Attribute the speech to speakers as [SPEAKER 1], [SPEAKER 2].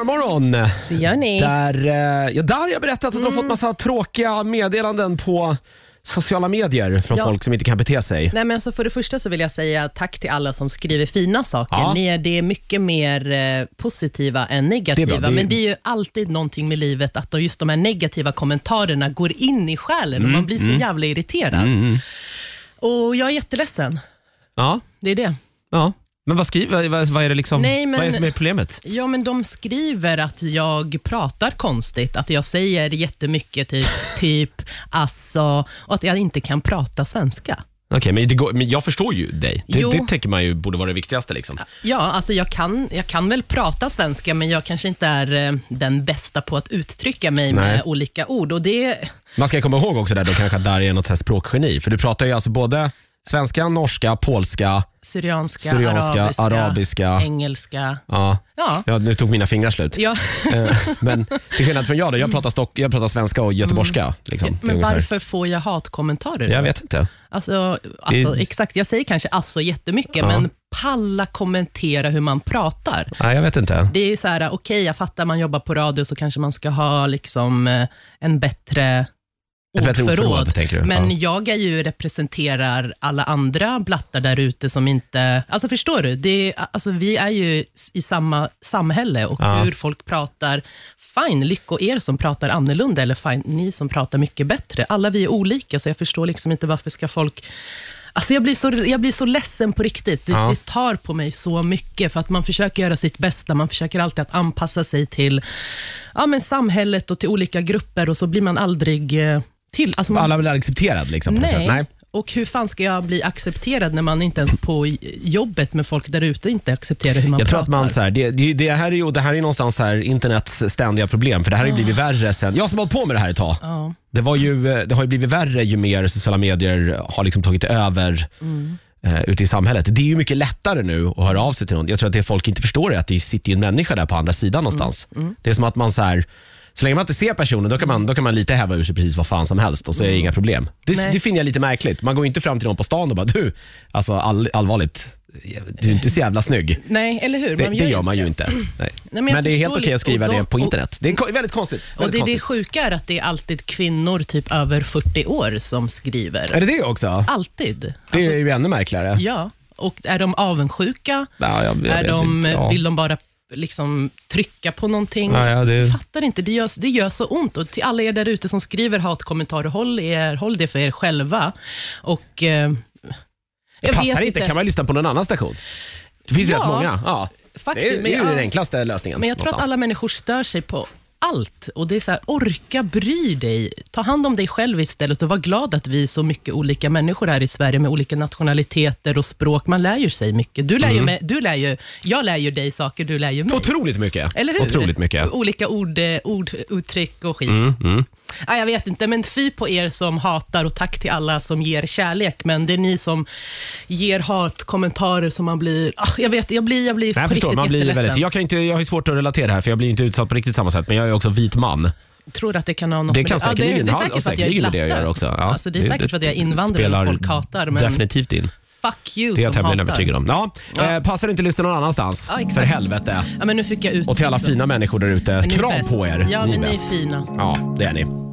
[SPEAKER 1] Farmorgon!
[SPEAKER 2] Det gör ni.
[SPEAKER 1] Där, eh, ja, där har jag berättat att du har
[SPEAKER 2] Mm.
[SPEAKER 1] fått massa tråkiga meddelanden på sociala medier från
[SPEAKER 2] Ja.
[SPEAKER 1] folk som inte kan bete sig.
[SPEAKER 2] Nej, men så för det första så vill jag säga tack till alla som skriver fina saker.
[SPEAKER 1] Ja.
[SPEAKER 2] Ni är, det är mycket mer eh, positiva än negativa,
[SPEAKER 1] Det är bra, det är-
[SPEAKER 2] men det är ju alltid någonting med livet att då just de här negativa kommentarerna går in i själen
[SPEAKER 1] Mm,
[SPEAKER 2] och man blir så jävla irriterad. Och jag är jätteledsen.
[SPEAKER 1] Ja,
[SPEAKER 2] Det är det.
[SPEAKER 1] ja. Men vad skriver, vad, vad är det liksom,
[SPEAKER 2] Nej, men-
[SPEAKER 1] vad är det som är problemet?
[SPEAKER 2] Ja, men de skriver att jag pratar konstigt, att jag säger jättemycket typ, typ alltså, och att jag inte kan prata svenska.
[SPEAKER 1] Okej, men, det går, men jag förstår ju dig. Det,
[SPEAKER 2] Jo.
[SPEAKER 1] det tänker man ju borde vara det viktigaste liksom.
[SPEAKER 2] Ja, alltså jag kan, jag kan väl prata svenska, men jag kanske inte är eh, den bästa på att uttrycka mig
[SPEAKER 1] Nej.
[SPEAKER 2] med olika ord. Och det,
[SPEAKER 1] Man ska komma ihåg också där då kanske att där är något så här språkgeni, för du pratar ju alltså både svenska, norska, polska,
[SPEAKER 2] syrianska,
[SPEAKER 1] Syrianska,
[SPEAKER 2] arabiska,
[SPEAKER 1] arabiska.
[SPEAKER 2] engelska.
[SPEAKER 1] ja.
[SPEAKER 2] Ja,
[SPEAKER 1] Ja, nu tog mina fingrar slut.
[SPEAKER 2] ja.
[SPEAKER 1] Eh, Men till skillnad från jag då, jag pratar, stock, jag pratar svenska och göteborgska. Liksom,
[SPEAKER 2] Mm. men
[SPEAKER 1] ungefär.
[SPEAKER 2] varför får jag hatkommentarer?
[SPEAKER 1] Jag vet inte.
[SPEAKER 2] Alltså, alltså,
[SPEAKER 1] Det-
[SPEAKER 2] Exakt, jag säger kanske alltså jättemycket,
[SPEAKER 1] Ja.
[SPEAKER 2] men palla kommentera hur man pratar.
[SPEAKER 1] Nej, jag vet inte.
[SPEAKER 2] Det är ju så här, okej, jag fattar, man jobbar på radio, så kanske man ska ha liksom, eh, en bättre
[SPEAKER 1] Ett bättre
[SPEAKER 2] ordförråd.
[SPEAKER 1] ordförråd, tänker du?
[SPEAKER 2] Men
[SPEAKER 1] Ja.
[SPEAKER 2] jag är ju representerar alla andra blattar där ute som inte... Alltså förstår du? Det är, alltså, vi är ju s- i samma samhälle och
[SPEAKER 1] Ja.
[SPEAKER 2] hur folk pratar. Fine, lycko er som pratar annorlunda, eller fine, ni som pratar mycket bättre. Alla vi är olika, så jag förstår liksom inte varför ska folk... Alltså jag, blir så, jag blir så ledsen på riktigt. Det,
[SPEAKER 1] Ja.
[SPEAKER 2] det tar på mig så mycket, för att man försöker göra sitt bästa. Man försöker alltid att anpassa sig till ja, men samhället och till olika grupper och så blir man aldrig eh, till. Alltså man,
[SPEAKER 1] Alla blir accepterad liksom, på något
[SPEAKER 2] nej.
[SPEAKER 1] sätt. Nej.
[SPEAKER 2] Och hur fan ska jag bli accepterad när man inte ens på j- jobbet med folk där ute inte accepterar hur man
[SPEAKER 1] Jag tror
[SPEAKER 2] pratar?
[SPEAKER 1] att man, så här, det, det, det här är ju det här är någonstans så här, internets ständiga problem, för det här har ju blivit värre sen... Jag som har hållit på med det här ett tag.
[SPEAKER 2] Ah. Ja.
[SPEAKER 1] Det, var ju, eh, det har ju blivit värre ju mer sociala medier har liksom tagit över
[SPEAKER 2] Mm.
[SPEAKER 1] eh, ute i samhället. Det är ju mycket lättare nu att höra av sig till någon. Jag tror att det folk inte förstår är att det sitter ju en människa där på andra sidan någonstans.
[SPEAKER 2] Mm.
[SPEAKER 1] Det är som att man så här, så länge man inte ser personen, då kan man, då kan man lite häva ur sig precis vad fan som helst och så är det inga problem. Det,
[SPEAKER 2] Mm. Nej.
[SPEAKER 1] det finner jag lite märkligt. Man går ju inte fram till någon på stan och bara du, alltså all, allvarligt, du är inte så jävla snygg.
[SPEAKER 2] Nej, eller hur?
[SPEAKER 1] Det,
[SPEAKER 2] Man
[SPEAKER 1] det
[SPEAKER 2] ju-
[SPEAKER 1] gör man ju inte. Nej.
[SPEAKER 2] men
[SPEAKER 1] men
[SPEAKER 2] jag
[SPEAKER 1] det är helt
[SPEAKER 2] förstår
[SPEAKER 1] okej att
[SPEAKER 2] lite.
[SPEAKER 1] skriva
[SPEAKER 2] Och då-
[SPEAKER 1] det på
[SPEAKER 2] och-
[SPEAKER 1] internet. Det är ko- väldigt konstigt.
[SPEAKER 2] Och
[SPEAKER 1] Väldigt
[SPEAKER 2] det, det
[SPEAKER 1] konstigt.
[SPEAKER 2] sjuka är att det är alltid kvinnor typ över 40 år som skriver.
[SPEAKER 1] Är det det också?
[SPEAKER 2] Alltid.
[SPEAKER 1] Eh. Det
[SPEAKER 2] Alltså,
[SPEAKER 1] är ju ännu märkligare.
[SPEAKER 2] ja. Och är de avundsjuka?
[SPEAKER 1] Ja, jag, jag
[SPEAKER 2] är
[SPEAKER 1] vet
[SPEAKER 2] de,
[SPEAKER 1] inte. Ja.
[SPEAKER 2] Vill de bara liksom trycka på någonting?
[SPEAKER 1] Ja, ja, det-
[SPEAKER 2] Jag fattar inte. Det gör, det gör så ont. Och till alla er där ute som skriver hatkommentarer, håll, er, håll det för er själva. Och, eh, jag
[SPEAKER 1] Det
[SPEAKER 2] vet
[SPEAKER 1] passar inte, kan man lyssna på någon annan station? Det finns ju
[SPEAKER 2] Ja.
[SPEAKER 1] rätt många. Ja.
[SPEAKER 2] Faktum
[SPEAKER 1] det är,
[SPEAKER 2] är-
[SPEAKER 1] det är ju
[SPEAKER 2] ja.
[SPEAKER 1] den enklaste lösningen.
[SPEAKER 2] Men jag tror att alla människor stör sig på allt. Och det är så här, Orka bry dig. Ta hand om dig själv istället och var glad att vi är så mycket olika människor här i Sverige med olika nationaliteter och språk. Man lär ju sig mycket. Du lär
[SPEAKER 1] Mm.
[SPEAKER 2] ju mig, du lär ju, jag lär ju dig saker, du lär ju mig.
[SPEAKER 1] Otroligt mycket.
[SPEAKER 2] Eller hur?
[SPEAKER 1] Otroligt mycket. Mm,
[SPEAKER 2] Olika ord, eh, ord uttryck och skit. Ja, jag vet inte, men fy på er som hatar och tack till alla som ger kärlek. Men det är ni som ger hatkommentarer som man blir... Ah, jag vet, jag blir, jag blir
[SPEAKER 1] Nej,
[SPEAKER 2] på
[SPEAKER 1] jag förstår,
[SPEAKER 2] riktigt
[SPEAKER 1] man blir
[SPEAKER 2] jätteledsen.
[SPEAKER 1] väldigt, jag, kan inte, jag har ju svårt att relatera här för jag blir ju inte utsatt på riktigt samma sätt men jag är också vit man.
[SPEAKER 2] tror att det kan ha något
[SPEAKER 1] Det kan
[SPEAKER 2] med det.
[SPEAKER 1] säkerligen
[SPEAKER 2] det är
[SPEAKER 1] ha-
[SPEAKER 2] säkert för att jag är
[SPEAKER 1] säkerligen med
[SPEAKER 2] blatte.
[SPEAKER 1] det jag gör också. Ja,
[SPEAKER 2] alltså, det är
[SPEAKER 1] det-
[SPEAKER 2] säkert för att jag är
[SPEAKER 1] det
[SPEAKER 2] invandrare
[SPEAKER 1] spelar
[SPEAKER 2] och folk hatar, men
[SPEAKER 1] Definitivt in.
[SPEAKER 2] fuck you
[SPEAKER 1] Det är jag
[SPEAKER 2] som
[SPEAKER 1] tämligen
[SPEAKER 2] hatar.
[SPEAKER 1] övertygad om. Ja,
[SPEAKER 2] Ja.
[SPEAKER 1] Eh, passar inte att lyssna någon annanstans.
[SPEAKER 2] Ja, exakt.
[SPEAKER 1] för helvete.
[SPEAKER 2] Ja, men nu fick jag ut
[SPEAKER 1] Och till alla
[SPEAKER 2] också.
[SPEAKER 1] fina människor där ute,
[SPEAKER 2] Ni är
[SPEAKER 1] kram
[SPEAKER 2] bäst.
[SPEAKER 1] på er.
[SPEAKER 2] Ja, men ni är
[SPEAKER 1] bäst.
[SPEAKER 2] fina.
[SPEAKER 1] Ja, det är ni.